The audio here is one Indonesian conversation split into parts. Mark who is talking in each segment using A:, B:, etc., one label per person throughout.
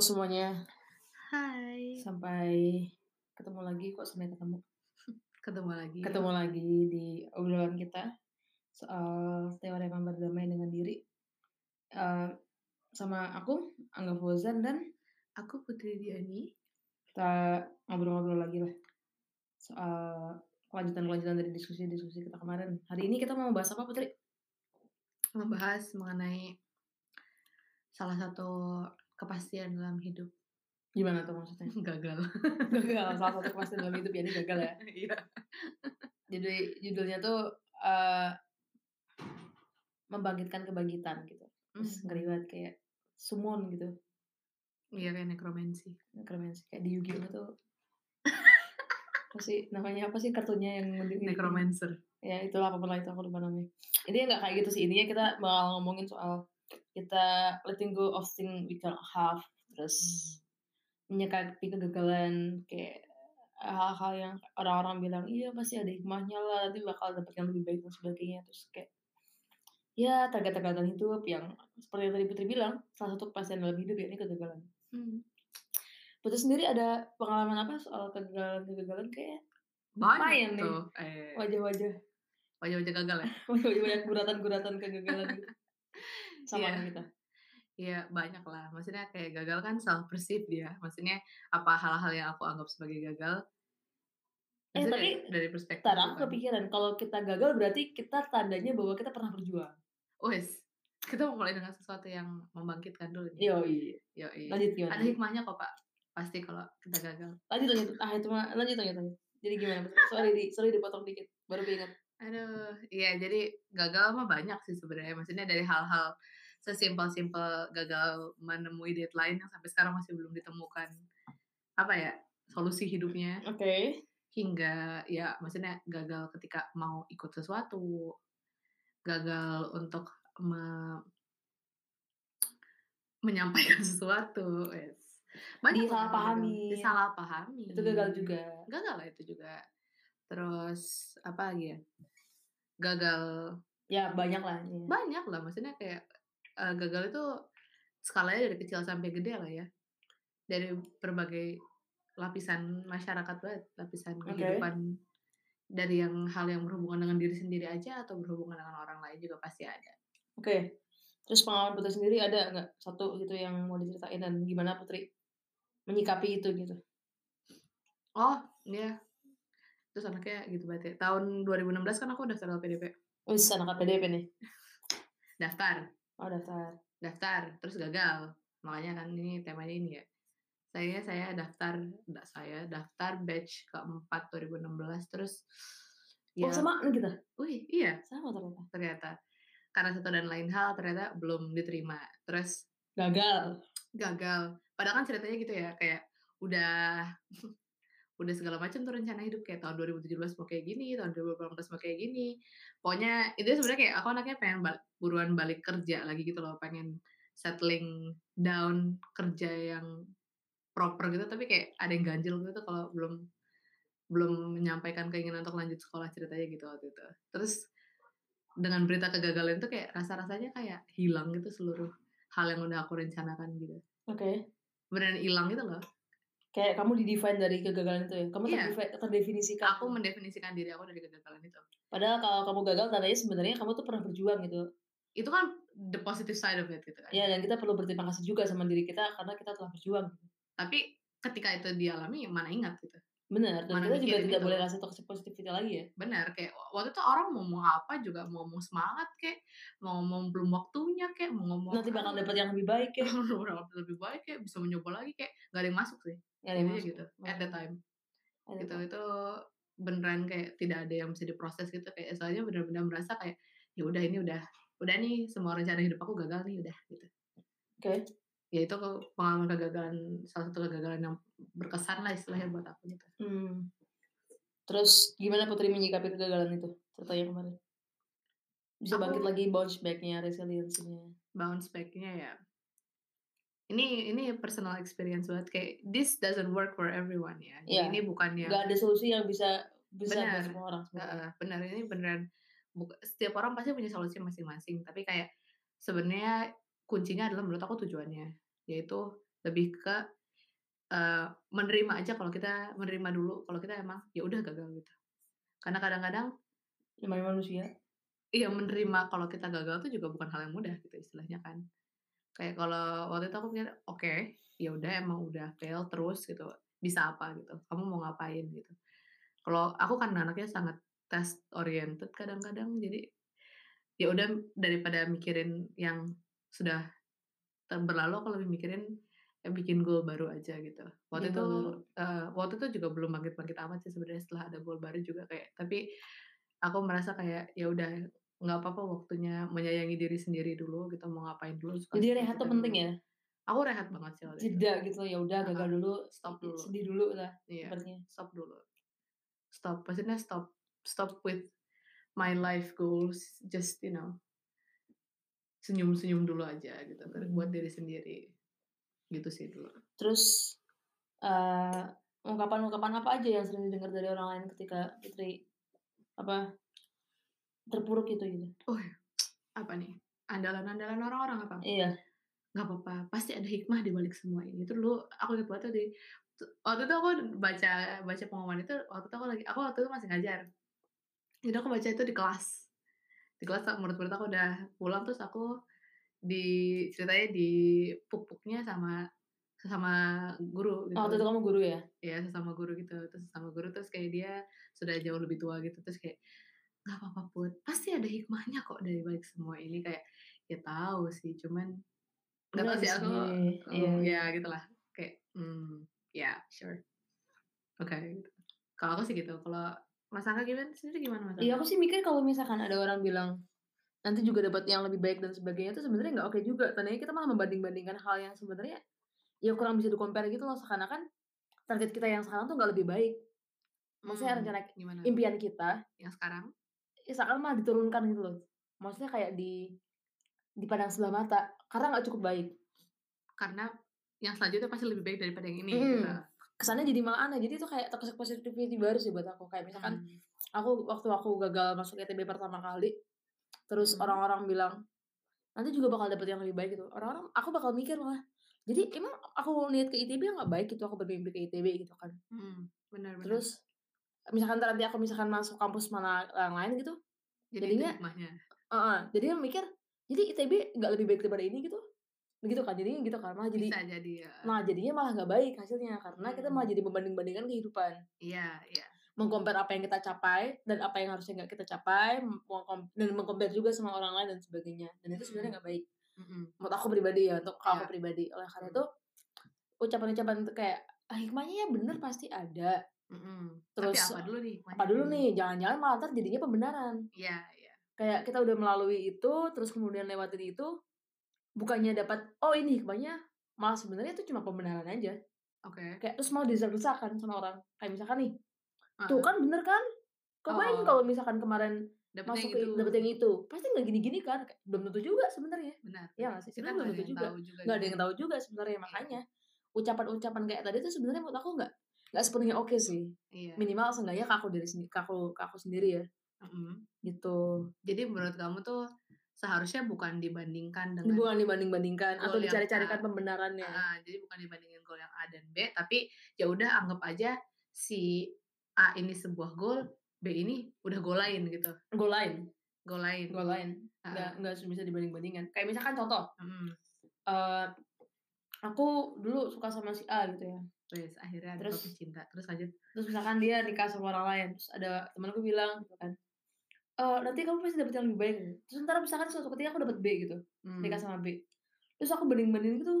A: semuanya.
B: Hai,
A: Sampai ketemu lagi kok sampai ketemu.
B: ketemu lagi.
A: Ketemu lagi di obrolan kita soal teorema berdamai dengan diri. Eh, sama aku Angga Fauzan dan
B: Aku Putri Diani.
A: kita ngobrol-ngobrol lagi lah soal kelanjutan-kelanjutan dari diskusi-diskusi kita kemarin. Hari ini kita mau bahas apa Putri?
B: Membahas mengenai salah satu kepastian dalam hidup
A: Gimana tuh maksudnya?
B: gagal.
A: Gagal, salah satu kepastian dalam hidup ya ini gagal ya.
B: Iya.
A: Jadi judulnya tuh eh, membangkitkan kebangkitan gitu. Terus
B: Hmm.
A: ngeri banget kayak summon gitu
B: Iya kayak nekromansi.
A: nekromansi kayak di Yu-Gi-Oh tuh apa sih namanya apa sih kartunya yang mending
B: Necromancer.
A: ya itulah apapun lah itu aku lupa namanya intinya nggak kayak gitu sih intinya kita bakal ngomongin soal kita letting go of thing we can have terus menyikapi kegagalan kayak eh, hal-hal yang orang-orang bilang iya pasti ada hikmahnya lah nanti bakal dapet yang lebih baik dan sebagainya terus kayak ya kegagalan hidup yang seperti yang tadi Putri bilang salah satu kepastian dalam hidup yakni kegagalan
B: Hmm.
A: Putri sendiri ada pengalaman apa soal kegagalan-kegagalan kayak Lumayan
B: Banyak
A: nih.
B: tuh. Eh,
A: wajah-wajah
B: wajah-wajah gagal ya?
A: wajah-wajah dan guratan-guratan kegagalan gitu sama
B: Iya.
A: kita.
B: Iya banyak lah. Maksudnya kayak gagal kan self perceive dia. Maksudnya apa hal-hal yang aku anggap sebagai gagal?
A: Eh,
B: Maksudnya
A: tapi
B: dari- dari perspektif. kan.
A: Ntar aku
B: bukan?
A: kepikiran kalau kita gagal berarti kita tandanya bahwa kita pernah berjuang.
B: Wes, kita mau mulai dengan sesuatu yang membangkitkan dulu nih.
A: Yo iya.
B: Yoi.
A: Lanjut gimana?
B: Ada hikmahnya kok pak. Pasti kalau kita gagal.
A: Lanjut lanjut. Ah itu mah lanjut lanjut lanjut. Jadi gimana? Putri? Sorry di sorry dipotong dikit. Baru keinget.
B: Aduh, iya jadi gagal mah banyak sih sebenarnya. Maksudnya dari hal-hal sesimpel-simpel gagal menemui deadline yang sampai sekarang masih belum ditemukan apa ya solusi hidupnya
A: Oke.
B: hingga ya maksudnya gagal ketika mau ikut sesuatu, gagal untuk me- menyampaikan sesuatu. Yes. Banyak lah gagal.
A: Disalahpahami.
B: disalahpahami.
A: Itu gagal juga.
B: gagal lah itu juga terus apa lagi ya gagal
A: Ya banyak lah. Iya.
B: banyak lah maksudnya kayak eh, gagal itu skalanya dari kecil sampai gede lah ya dari berbagai lapisan masyarakat banget lapisan
A: Oke.
B: kehidupan dari yang hal yang berhubungan dengan diri sendiri aja atau berhubungan dengan orang lain juga pasti ada
A: Oke. Terus pengalaman Putri sendiri ada nggak satu gitu yang mau diceritain dan gimana Putri menyikapi itu gitu?
B: oh iya terus anaknya gitu berarti tahun 2016 kan aku daftar LPDP
A: Wis anak PDP nih.
B: daftar
A: Oh daftar.
B: daftar terus gagal makanya kan ini temanya ini ya saya saya daftar da- saya daftar batch keempat 2016 terus ya
A: Oh sama kita.
B: wih iya
A: Sama ternyata.
B: ternyata karena satu dan lain hal ternyata belum diterima terus
A: Gagal.
B: gagal padahal kan ceritanya gitu ya kayak udah udah segala macam tuh rencana hidup kayak tahun 2017 mau kayak gini tahun 2018 mau kayak gini pokoknya itu ya sebenarnya kayak aku anaknya pengen bal- buruan balik kerja lagi gitu loh pengen settling down kerja yang proper gitu tapi kayak ada yang ganjel gitu kalau belum belum menyampaikan keinginan untuk lanjut sekolah ceritanya gitu waktu itu terus dengan berita kegagalan tuh kayak rasa-rasanya kayak hilang gitu seluruh hal yang udah aku rencanakan gitu
A: Oke.
B: beneran hilang gitu loh.
A: Kayak kamu di-define dari kegagalan itu ya. Kamu
B: Iya.
A: terdefi- terdefinisikan.
B: Aku mendefinisikan diri aku dari kegagalan itu.
A: Padahal kalau kamu gagal tandanya sebenarnya kamu tuh pernah berjuang gitu.
B: Itu kan the positive side of it gitu kan.
A: Ya dan kita perlu berterima kasih juga sama diri kita karena kita telah berjuang.
B: Tapi ketika itu dialami mana ingat gitu.
A: Benar. Dan
B: Mana gitu.
A: kita juga
B: mikirin
A: tidak
B: itu.
A: boleh kasih toxic positivity lagi ya.
B: Benar kayak waktu itu orang mau ngomong apa juga mau ngomong semangat kayak mau ngomong belum waktunya kayak mau ngomong
A: Nanti bakal
B: "Ah,
A: dapat yang lebih baik ya.
B: belum waktu lebih baik kayak bisa mencoba lagi kayak gak ada yang masuk sih.
A: Ya, ada yang
B: Intinya
A: masuk. Iya.
B: gitu at the time.
A: Ada
B: gitu
A: yang-
B: itu beneran kayak tidak ada yang bisa diproses gitu kayak soalnya benar-benar merasa kayak ya udah ini udah udah nih semua rencana hidup aku gagal nih udah gitu
A: Oke.
B: ya itu ke- pengalaman kegagalan salah satu kegagalan yang berkesan lah istilahnya buat aku gitu
A: Hmm. Terus gimana Putri menyikapi kegagalan itu? Ceritanya kemarin. Bisa
B: Aku-
A: bangkit lagi bounce back-nya, resilience-nya.
B: bounce back-nya ya ini ini personal experience banget kayak this doesn't work for everyone ya Jadi
A: Iya.
B: ini bukan yang
A: Gak ada solusi yang bisa bisa buat
B: Benar.
A: semua orang. sebenarnya.
B: Heeh, benar ini beneran buka- setiap orang pasti punya solusi masing-masing tapi kayak sebenarnya kuncinya adalah menurut aku tujuannya yaitu lebih ke eh, menerima aja kalau kita menerima dulu kalau kita emang ya udah gagal gitu karena kadang-kadang
A: namanya manusia
B: iya menerima kalau kita gagal tuh juga bukan hal yang mudah gitu istilahnya kan kayak kalau waktu itu aku pikir oke ya udah emang udah fail terus gitu bisa apa gitu kamu mau ngapain gitu kalau aku kan anaknya sangat test oriented kadang-kadang jadi ya udah daripada mikirin yang sudah ter- berlalu aku lebih mikirin eh, bikin goal baru aja gitu waktu
A: Bikin
B: itu
A: goal baru.
B: eh, waktu itu juga belum bangkit-bangkit amat sih sebenarnya setelah ada goal baru juga kayak tapi aku merasa kayak ya udah nggak apa-apa waktunya menyayangi diri sendiri dulu gitu mau ngapain dulu suka
A: jadi rehat tuh penting ya
B: aku rehat banget sih waktu itu
A: jeda gitu ya udah gagal dulu
B: stop dulu
A: sedih dulu lah
B: iya
A: sepertinya
B: stop dulu stop maksudnya stop stop with my life goals just you know senyum senyum dulu aja gitu kan buat
A: Mhm.
B: diri sendiri gitu sih dulu
A: terus eh, ungkapan-ungkapan apa aja yang sering didengar dari orang lain ketika Putri apa terpuruk itu gitu
B: apa nih andalan andalan orang-orang apa
A: iya
B: nggak apa-apa pasti ada hikmah di balik semua ini itu dulu aku ingat banget tuh di waktu itu aku baca baca pengumuman itu waktu itu aku lagi aku waktu itu masih ngajar jadi aku baca itu di kelas di kelas menurut-menurut aku udah pulang terus aku di ceritanya di puk-puknya sama sama guru gitu
A: oh, waktu itu kamu guru ya
B: ya sesama guru gitu terus sesama guru terus kayak dia sudah jauh lebih tua gitu terus kayak nggak apa-apa put pasti ada hikmahnya kok dari balik semua ini kayak ya tahu sih cuman nggak tahu
A: Bener
B: sih aku
A: sih, iya.
B: em, ya gitulah kayak hmm ya sure oke gitu. kalau aku sih gitu kalau mas Angga gimana sendiri gimana mas
A: Iya
B: Angga?
A: aku sih mikir kalau misalkan ada orang bilang nanti juga dapat yang lebih baik dan sebagainya itu sebenarnya nggak oke juga. Tandanya kita malah membanding-bandingkan hal yang sebenarnya ya kurang bisa di-compare gitu loh seakan-akan target kita yang sekarang tuh nggak lebih baik. Maksudnya
B: Hmm,
A: rencana
B: gimana
A: impian kita
B: yang sekarang
A: ya seakan malah diturunkan gitu loh. Maksudnya kayak di dipandang sebelah mata karena nggak cukup baik.
B: karena yang selanjutnya pasti lebih baik daripada yang ini
A: Mm.
B: gitu.
A: Kesannya jadi malah aneh. Jadi itu kayak toxic positivity baru sih buat aku. Kayak misalkan
B: Hmm.
A: aku waktu aku gagal masuk ITB pertama kali terus
B: Hmm.
A: orang-orang bilang nanti juga bakal dapet yang lebih baik gitu orang-orang aku bakal mikir malah jadi emang aku lihat ke ITB yang nggak baik gitu aku bermimpi ke ITB gitu kan
B: Hmm, benar benar
A: terus misalkan ntar nanti aku misalkan masuk kampus mana yang lain gitu
B: jadi itu
A: jadinya-
B: hikmahnya
A: Heeh, jadi yang mikir jadi ITB nggak lebih baik daripada ini gitu begitu kan jadinya gitu kan malah jadi
B: bisa jadi ya.
A: malah jadinya malah nggak baik hasilnya karena kita malah jadi membanding-bandingkan kehidupan
B: iya iya
A: mengcompare apa yang kita capai dan apa yang harusnya nggak kita capai mengkom- dan mengcompare juga sama orang lain dan sebagainya dan itu sebenarnya nggak baik
B: Mm-mm.
A: menurut aku pribadi ya untuk aku
B: Iya.
A: pribadi oleh karena itu ucapan-ucapan itu kayak "Ah, hikmahnya ya bener pasti ada
B: Mm-mm.
A: Terus, eh,
B: Tapi apa dulu nih? hikmahnya?
A: apa dulu nih jangan-jangan malah ntar jadinya pembenaran
B: Iya, iya.
A: kayak kita udah melalui itu terus kemudian lewatin itu bukannya dapat oh ini hikmahnya malah sebenarnya itu cuma pembenaran aja
B: Oke.
A: kayak terus mau didesak-desakan sama orang kayak misalkan nih
B: Ah,
A: tuh kan bener kan kebayang
B: Oh.
A: kalau misalkan kemarin
B: dapetnya
A: masuk
B: yang
A: ke
B: itu.
A: dapet yang itu pasti nggak gini-gini kan Kayak, belum tentu juga sebenarnya
B: Benar.
A: ya nggak sih
B: Kita
A: sebenarnya
B: nggak
A: belum tentu
B: ada yang
A: juga
B: tahu Iya juga.
A: nggak ada
B: gitu.
A: yang tahu juga sebenarnya makanya ucapan-ucapan kayak tadi itu sebenarnya menurut aku nggak nggak sepenuhnya oke sih
B: Iya.
A: minimal seenggaknya ke aku dari sendiri ke aku ke aku sendiri ya
B: Mm-mm.
A: gitu
B: Jadi menurut kamu tuh seharusnya bukan dibandingkan dengan
A: bukan dibanding-bandingkan atau
B: Goal yang
A: dicari-carikan
B: A.
A: pembenarannya
B: Ah, jadi bukan dibandingin goal yang A dan B, tapi ya udah anggap aja si A ini sebuah goal, B ini udah goal lain gitu.
A: goal lain
B: Goal lain.
A: goal lain
B: Ah,
A: nggak nggak bisa dibanding-bandingkan kayak misalkan contoh
B: mm-mm.
A: eh, aku dulu suka sama si A gitu ya
B: Wes, akhirnya ada
A: Terus-
B: topik cinta. Terus lanjut.
A: terus misalkan dia nikah sama orang lain terus ada temanku bilang gitu kan "Eh, nanti kamu pasti dapet yang lebih baik terus ntar misalkan suatu ketika aku dapet B gitu
B: Mm.
A: nikah sama B terus aku banding bandingin gitu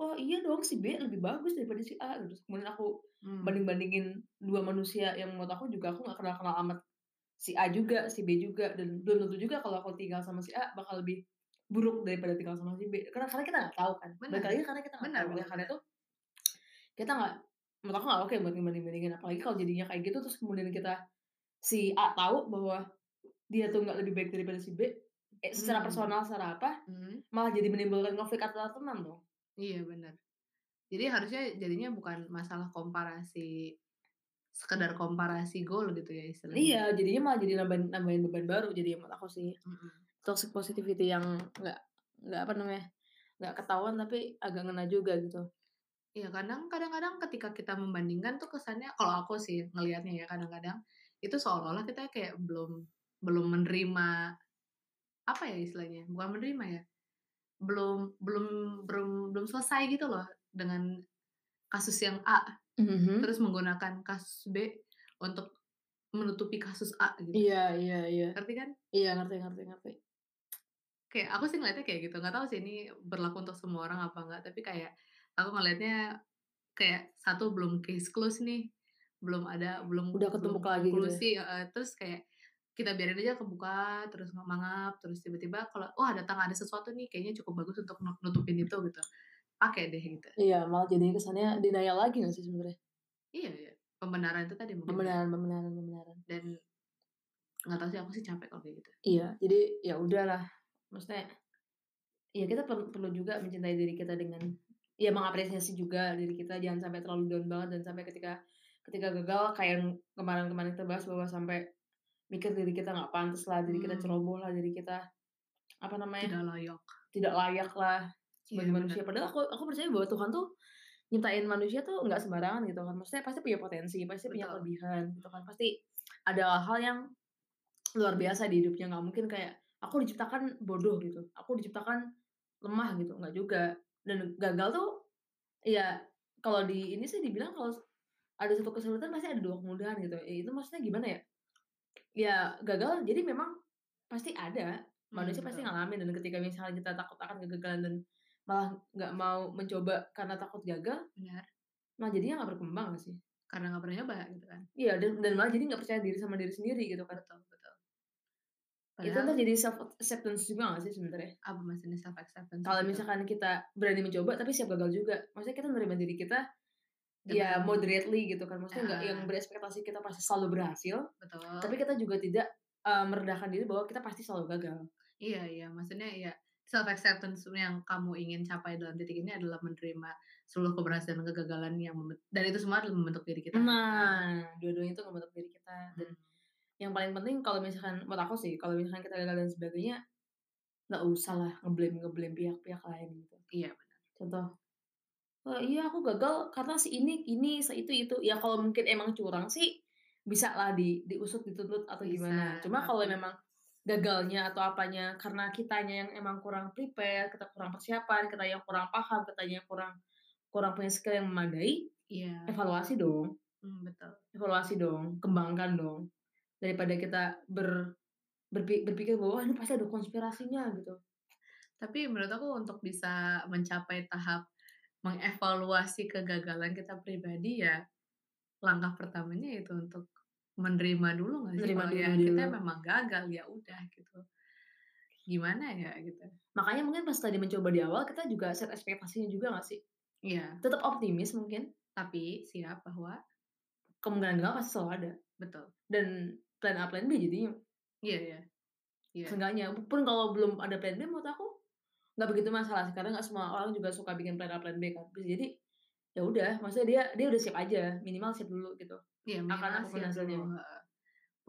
A: wah iya dong si B lebih bagus daripada si A terus kemudian aku
B: Mm.
A: banding bandingin dua manusia yang menurut aku juga aku nggak kenal kenal amat si A juga si B juga dan belum tentu juga kalau aku tinggal sama si A bakal lebih buruk daripada tinggal sama si B karena karena kita nggak tahu kan
B: Benar.
A: balik lagi karena kita nggak
B: Benar,
A: tahu oleh
B: benar,
A: karena itu kita nggak menurut aku nggak oke buat banding bandingin apalagi kalau jadinya kayak gitu terus kemudian kita si A tahu bahwa dia tuh nggak lebih baik daripada si B eh, secara
B: Hmm.
A: personal secara apa
B: Mm.
A: malah jadi menimbulkan konflik antara teman dong.
B: Iya benar. Jadi harusnya jadinya bukan masalah komparasi sekedar komparasi goal gitu ya istilahnya.
A: Iya, jadinya malah jadi nambahin nambahin beban baru. Jadi menurut aku sih
B: Mm-mm.
A: toxic positivity yang nggak nggak apa namanya nggak ketahuan tapi agak ngena juga gitu.
B: Iya kadang kadang-kadang ketika kita membandingkan tuh kesannya kalau aku sih ngelihatnya ya kadang-kadang itu seolah-olah kita kayak belum belum menerima apa ya istilahnya bukan menerima ya belum belum belum belum selesai gitu loh dengan kasus yang A
A: Mhm.
B: terus menggunakan kasus B untuk menutupi kasus A gitu.
A: Iya iya iya
B: Ngerti kan?
A: iya ngerti ngerti ngerti.
B: kayak aku sih ngeliatnya kayak gitu nggak tahu sih ini berlaku untuk semua orang apa enggak tapi kayak aku ngeliatnya kayak satu belum case close nih belum ada belum
A: Udah
B: belum
A: ketumpuk lagi gitu ya.
B: konklusi, eh, terus kayak kita biarin aja kebuka terus mangap terus tiba-tiba kalau wah datang ada sesuatu nih kayaknya cukup bagus untuk nu- nutupin itu gitu pakai deh gitu
A: Iya malah jadi kesannya denial lagi nggak sih sebenarnya?
B: iya iya pembenaran itu tadi mungkin
A: Pembenaran pembenaran pembenaran.
B: dan nggak tahu sih aku sih capek kalau kayak gitu
A: Iya jadi ya udahlah maksudnya ya kita perlu, perlu juga mencintai diri kita dengan ya mengapresiasi juga diri kita jangan sampai terlalu down banget dan sampai ketika ketika gagal kayak yang kemarin-kemarin kita bahas bahwa sampai mikir diri kita nggak pantas lah diri kita
B: Hmm.
A: ceroboh lah diri kita apa namanya
B: tidak layak
A: tidak layak lah Iya. sebagai
B: Iya, benar.
A: manusia. Padahal aku aku percaya bahwa Tuhan tuh nyiptain manusia tuh nggak sembarangan gitu kan. Maksudnya pasti punya potensi, pasti punya
B: Betul.
A: kelebihan gitu kan. Pasti ada hal yang luar biasa di hidupnya nggak mungkin kayak aku diciptakan bodoh gitu. Aku diciptakan lemah gitu, nggak juga. Dan gagal tuh ya kalau di ini sih dibilang kalau ada satu kesulitan pasti ada dua kemudahan gitu. Ya, itu maksudnya gimana ya? Ya gagal jadi memang pasti ada
B: Hmm,
A: manusia pasti
B: betul.
A: ngalamin dan ketika misalnya kita takut akan kegagalan dan malah nggak mau mencoba karena takut gagal
B: benar
A: malah jadinya nggak berkembang nggak sih
B: karena nggak pernah nyoba gitu kan
A: iya dan, dan malah jadi nggak percaya diri sama diri sendiri gitu kan
B: betul betul
A: itu
B: Padahal-
A: ntar jadi self acceptance juga nggak sih sebenarnya
B: apa maksudnya gitu? self acceptance
A: kalau misalkan kita berani mencoba tapi siap gagal juga maksudnya kita nerima diri kita ya
B: Dengan-
A: moderately gitu kan maksudnya nggak
B: Ah.
A: yang berespektasi kita pasti selalu berhasil
B: betul
A: tapi kita juga tidak eh, merendahkan diri bahwa kita pasti selalu gagal
B: iya iya maksudnya ya self acceptance yang kamu ingin capai dalam titik ini adalah menerima seluruh keberhasilan dan kegagalan yang memben- dan itu semua adalah membentuk diri kita
A: nah dua-duanya itu ngebentuk diri kita dan
B: dan
A: yang paling penting kalau misalkan buat aku sih kalau misalkan kita gagal dan sebagainya nggak usah lah ngeblame ngeblame pihak-pihak lain gitu
B: iya benar
A: contoh "Oh, iya aku gagal karena si ini ini si itu itu ya kalau mungkin emang curang sih bisa lah di diusut dituntut atau
B: Bisa,
A: gimana cuma kalau
B: tapi-
A: memang gagalnya atau apanya karena kitanya yang emang kurang prepare kita kurang persiapan kita yang kurang paham kita yang kurang kurang punya skill yang memadai
B: iya
A: evaluasi dong
B: hmm, betul
A: evaluasi dong, kembangkan dong. Daripada kita ber berpi- berpikir bahwa "Wah, ini pasti ada konspirasinya gitu.
B: tapi menurut aku untuk bisa mencapai tahap mengevaluasi kegagalan kita pribadi ya langkah pertamanya itu untuk menerima dulu nggak sih
A: Menerima
B: kalau
A: dulu
B: ya
A: dulu.
B: kita memang gagal ya udah gitu gimana ya gitu
A: Makanya mungkin pas tadi mencoba di awal kita juga set ekspektasinya juga gak sih?
B: iya
A: Tetap optimis mungkin,
B: tapi siap bahwa
A: kemungkinan gagal pasti selalu ada.
B: betul
A: Dan plan A, plan B jadinya.
B: iya iya Iya.
A: Seenggaknya, pun kalau belum ada plan B menurut aku nggak begitu masalah sih karena nggak semua orang juga suka bikin plan A, plan B kan. Bisa jadi ya udah, maksudnya dia dia udah siap aja, minimal siap dulu gitu.
B: iya
A: Akan ya.
B: minimal
A: apapun
B: siap
A: hasilnya.
B: dulu, heeh.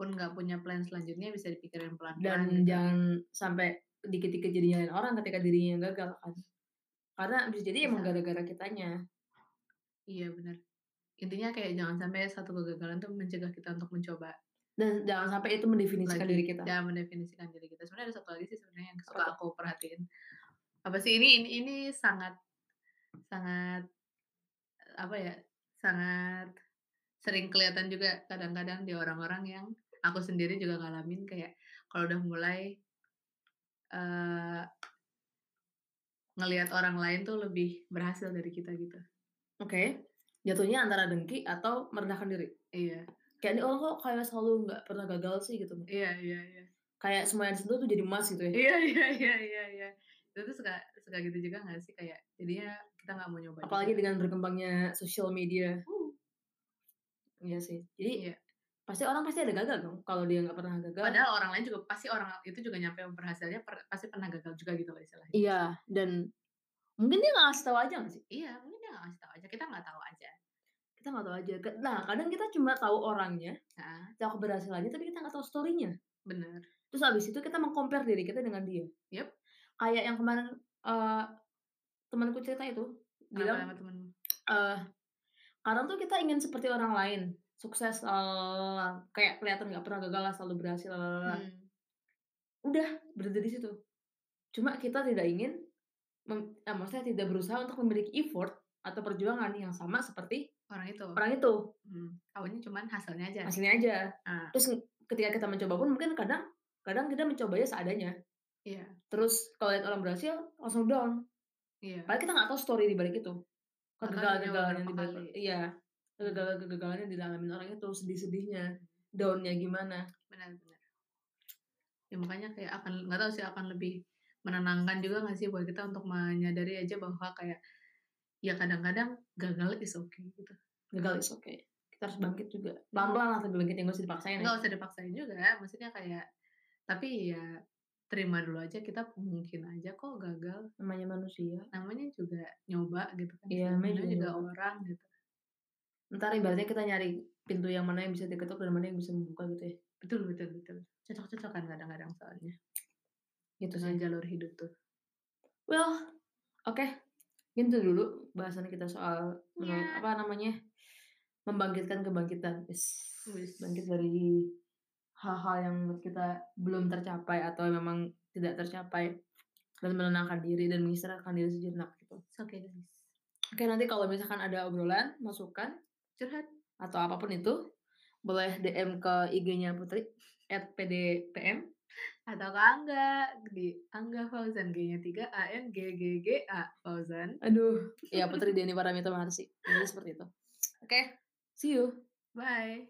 B: pun nggak punya plan selanjutnya bisa dipikirin gitu. pelan pelan
A: dan jangan sampai dikit-dikit jadi nyalain orang ketika dirinya yang gagal kan karena bisa jadi emang
B: Bisa.
A: gara-gara kitanya
B: iya benar intinya kayak jangan sampai satu kegagalan tuh mencegah kita untuk mencoba
A: dan jangan sampai itu mendefinisikan
B: lagi Ya.
A: diri kita
B: dan mendefinisikan diri kita sebenarnya ada satu lagi sih sebenarnya yang suka
A: tuh?
B: aku perhatiin apa sih ini ini ini sangat sangat eh, apa ya sangat sering kelihatan juga kadang-kadang di orang-orang yang aku sendiri juga ngalamin kayak kalau udah mulai eh ngelihat orang lain tuh lebih berhasil dari kita gitu
A: oke jatuhnya antara dengki atau merendahkan diri
B: iya
A: kayak ini orang kok kayak selalu nggak pernah gagal sih gitu
B: iya iya iya
A: kayak semua yang disentuh tuh jadi emas gitu ya
B: iya iya iya iya iya itu tuh suka suka gitu juga nggak sih kayak jadinya kita nggak mau nyoba
A: apalagi dengan berkembangnya sosial media
B: Uh,
A: iya sih jadi
B: Iya.
A: pasti orang pasti ada gagal dong kalau dia nggak pernah gagal
B: padahal orang lain juga pasti orang itu juga nyampe berhasilnya per- pasti pernah gagal juga gitu loh istilahnya
A: iya dan mungkin dia nggak ngasih tahu aja nggak sih
B: iya mungkin dia nggak ngasih tahu aja kita nggak tahu aja
A: kita nggak tahu aja Ke- nah kadang kita cuma tahu orangnya
B: nah
A: tahu keberhasilannya tapi kita nggak tahu story-nya.
B: bener
A: Terus abis itu kita mengcompare diri kita dengan dia.
B: Yep.
A: Kayak yang kemarin eh, temanku cerita itu
B: kenapa
A: bilang
B: sama temen
A: eh kadang tuh kita ingin seperti orang lain sukses lalalala, kayak kelihatan nggak pernah gagal lah, selalu berhasil lalalala.
B: Hmm.
A: udah berhenti di situ cuma kita tidak ingin mem- eh, maksudnya tidak berusaha untuk memiliki effort atau perjuangan yang sama seperti
B: orang itu
A: orang itu
B: hmm. awalnya cuman hasilnya aja
A: hasilnya aja
B: Nah. Ah.
A: terus ng- ketika kita mencoba pun mungkin kadang kadang kita mencobanya seadanya
B: Iya.
A: terus kalau lihat orang berhasil langsung down
B: iya
A: padahal kita nggak tahu story di balik itu
B: Bahkan
A: kegagalan-kegagalan
B: hanya
A: yang
B: beberapa
A: dibalik-
B: kali.
A: iya kegagalan-kegagalan yang dialami orang itu sedih-sedihnya downnya gimana
B: benar-benar ya makanya kayak akan nggak tahu sih akan lebih menenangkan juga nggak sih buat kita untuk menyadari aja bahwa kayak ya kadang-kadang gagal is okay gitu
A: gagal is okay kita harus bangkit juga pelan-pelan lah tapi bangkit yang gak usah dipaksain ya.
B: nggak usah dipaksain juga maksudnya kayak tapi ya terima dulu aja kita mungkin aja kok gagal
A: namanya manusia
B: namanya juga nyoba gitu kan
A: Iya, namanya
B: namanya
A: juga
B: juga
A: nyoba.
B: orang gitu
A: ntar ibaratnya kita nyari pintu yang mana yang bisa diketuk dan mana yang bisa membuka gitu ya
B: betul betul betul cocok-cocokan kadang-kadang soalnya
A: gitu
B: dengan
A: sih
B: jalur hidup tuh
A: well oke mungkin itu dulu bahasan kita soal menu-
B: Ya.
A: apa namanya membangkitkan kebangkitan Is,
B: Wis.
A: bangkit dari hal-hal yang menurut kita belum tercapai atau memang tidak tercapai dan menenangkan diri dan mengistirahatkan diri sejenak gitu
B: It's okay guys
A: oke nanti kalau misalkan ada obrolan masukan
B: curhat
A: atau apapun itu boleh DM ke IG-nya Putri at PDPM
B: atau ke Angga di Angga Fauzan G-nya 3 A N G G G A Fauzan.
A: Aduh, ya Putri Deni Paramita Maharsi. Jadi seperti itu. Oke, see you.
B: Bye.